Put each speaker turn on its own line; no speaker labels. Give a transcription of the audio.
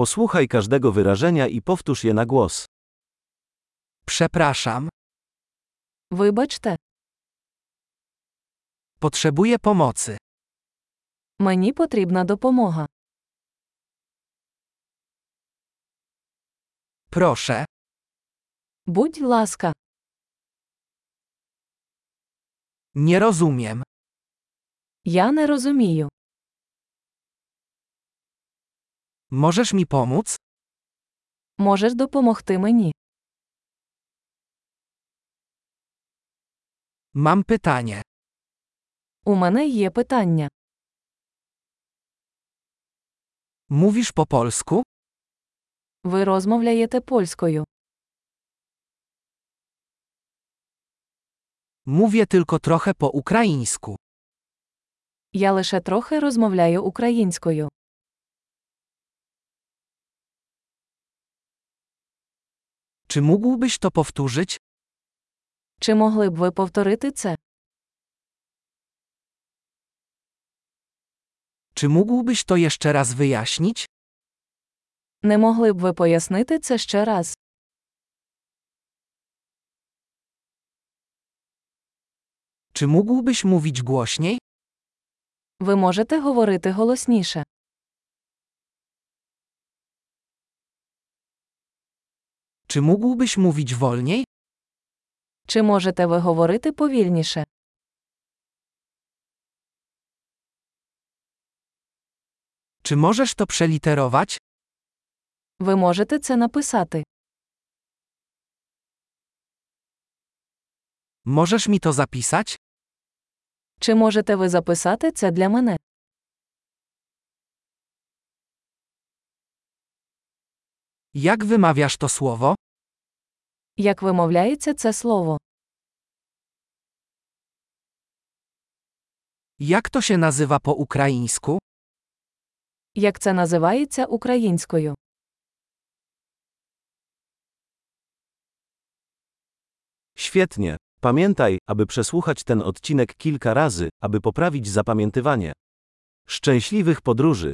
Posłuchaj każdego wyrażenia i powtórz je na głos.
Przepraszam,
Вибачте,
potrzebuję pomocy.
мені потрібна допомога.
Proszę,
Будь ласка,
nie rozumiem.
я не розумію.
Możesz mi pomóc?
Можеш допомогти мені?
Mam pytanie.
У мене є питання.
Mówisz po polsku?
Ви розмовляєте польською.
Mówię tylko trochę po ukraińsku.
Я лише трохи розмовляю українською.
Czy mógłbyś to powtórzyć?
Чи могли б ви повторити це?
Czy mógłbyś to jeszcze raz wyjaśnić?
Не могли б ви пояснити це ще раз?
Czy mógłbyś mówić głośniej?
Ви можете говорити голосніше.
Czy mógłbyś mówić wolniej?
Чи можете ви говорити повільніше?
Czy możesz to przeliterować?
Ви можете це написати.
Możesz mi to zapisać?
Чи можете ви записати це для мене?
Jak wymawiasz to słowo?
Як вимовляється це слово?
Jak to się nazywa po ukraińsku?
Як це називається українською?
Świetnie. Pamiętaj, aby przesłuchać ten odcinek kilka razy, aby poprawić zapamiętywanie. Szczęśliwych podróży!